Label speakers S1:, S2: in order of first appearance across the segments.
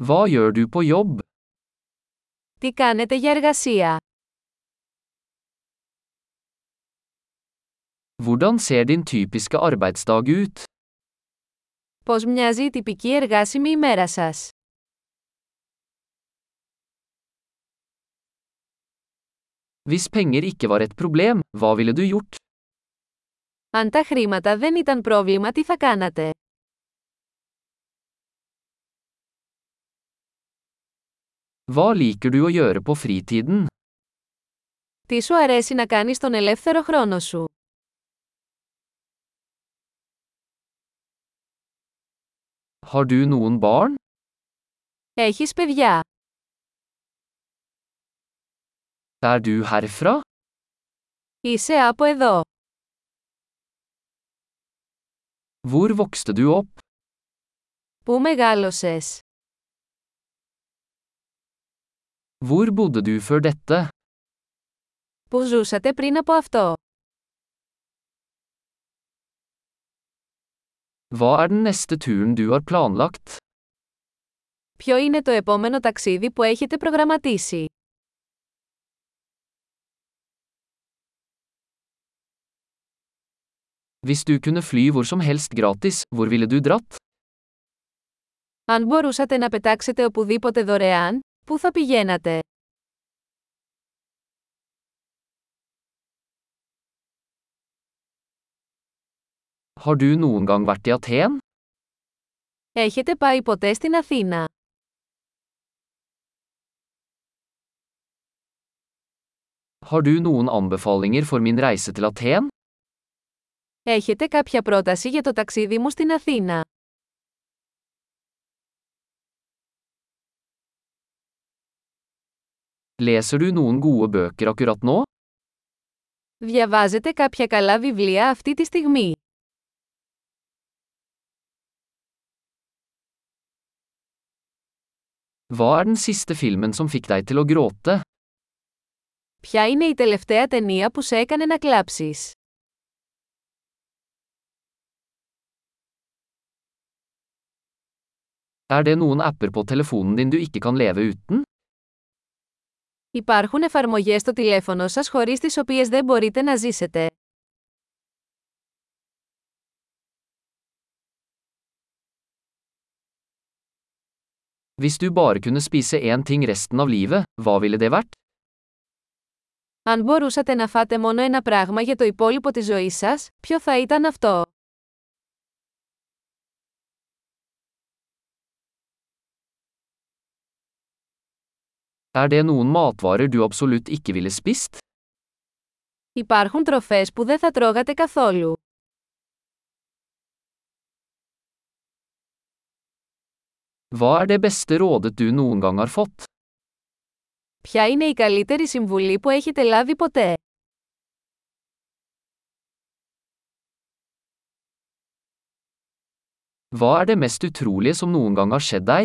S1: Hva gjør du på jobb?
S2: Τι κάνετε για εργασία?
S1: Hvordan ser din typiske arbeidsdag ut?
S2: Πώς μοιάζει η τυπική εργάσιμη ημέρα σας?
S1: Hvis penger ikke var et problem, hva ville du gjort?
S2: Αν τα χρήματα δεν ήταν πρόβλημα, τι θα κάνατε?
S1: Hva liker du å gjøre på fritiden?
S2: Τι σου αρέσει να κάνεις τον ελεύθερο χρόνο σου?
S1: Har du noen barn?
S2: Έχεις παιδιά.
S1: Er du herfra?
S2: Είσαι από εδώ.
S1: Hvor vokste du opp?
S2: Πού μεγάλωσες?
S1: Hvor bodde du før dette?
S2: Πού ζούσατε πριν από αυτό?
S1: Hva er den neste turen du har planlagt?
S2: Ποιο είναι το επόμενο ταξίδι που έχετε προγραμματίσει?
S1: Hvis du kunne fly hvor som helst gratis, hvor ville du dratt?
S2: Αν μπορούσατε να πετάξετε οπουδήποτε δωρεάν, πού θα πηγαίνατε?
S1: Har du noen gang vært i Aten?
S2: Έχετε πάει ποτέ στην Αθήνα?
S1: Har du noen anbefalinger for min reise til Aten?
S2: Έχετε κάποια πρόταση για το ταξίδι μου στην Αθήνα?
S1: Leser du noen gode bøker akkurat nå?
S2: Διαβάζετε κάποια καλά βιβλία αυτή τη στιγμή.
S1: Hva er den siste filmen som fikk deg til å gråte?
S2: Ποια είναι η τελευταία ταινία που σε έκανε να κλάψεις?
S1: Er det noen apper på telefonen din du ikke kan leve uten?
S2: Υπάρχουν εφαρμογές στο τηλέφωνο σας χωρίς τις οποίες δεν μπορείτε να ζήσετε.
S1: Hvis du bare kunne spise én ting resten av livet, hva ville det vært?
S2: Αν μπορούσατε να φάτε μόνο ένα πράγμα για το υπόλοιπο της ζωής σας, ποιο θα ήταν αυτό?
S1: Er det noen matvarer du absolutt ikke ville spist?
S2: Υπάρχουν τροφές που δεν θα τρώγατε καθόλου.
S1: Hva er det beste rådet du noen gang har fått?
S2: Ποια είναι η καλύτερη συμβουλή που έχετε λάβει ποτέ?
S1: Hva er det mest utrolige som noen gang har skjedd deg?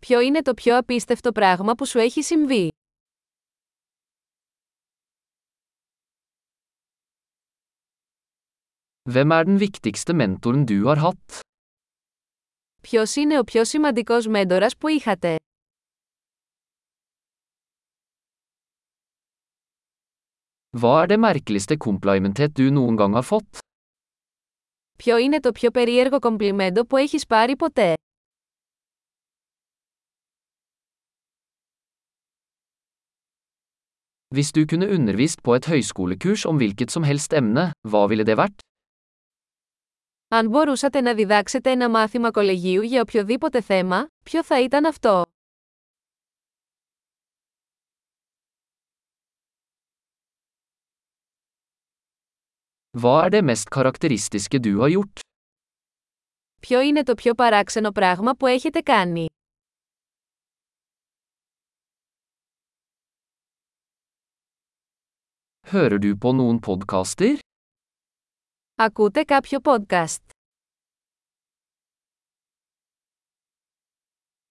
S2: Ποιο είναι το πιο απίστευτο πράγμα που σου έχει συμβεί?
S1: Hvem er den viktigste mentoren du har hatt?
S2: Ποιος είναι ο πιο σημαντικός μέντορας που είχατε?
S1: Hva er det merkeligste komplimentet du noen gang har fått?
S2: Ποιο είναι το πιο περίεργο κομπλιμέντο που έχεις πάρει ποτέ?
S1: Hvis du kunne undervist på et høyskolekurs om hvilket som helst emne, hva ville det vært?
S2: Αν μπορούσατε να διδάξετε ένα μάθημα κολεγίου για οποιοδήποτε θέμα, ποιο θα ήταν αυτό?
S1: Hva er det mest karakteristiske du har gjort?
S2: Ποιο είναι το πιο παράξενο πράγμα που έχετε κάνει?
S1: Hører du på noen podkaster?
S2: Ακούτε κάποιο podcast.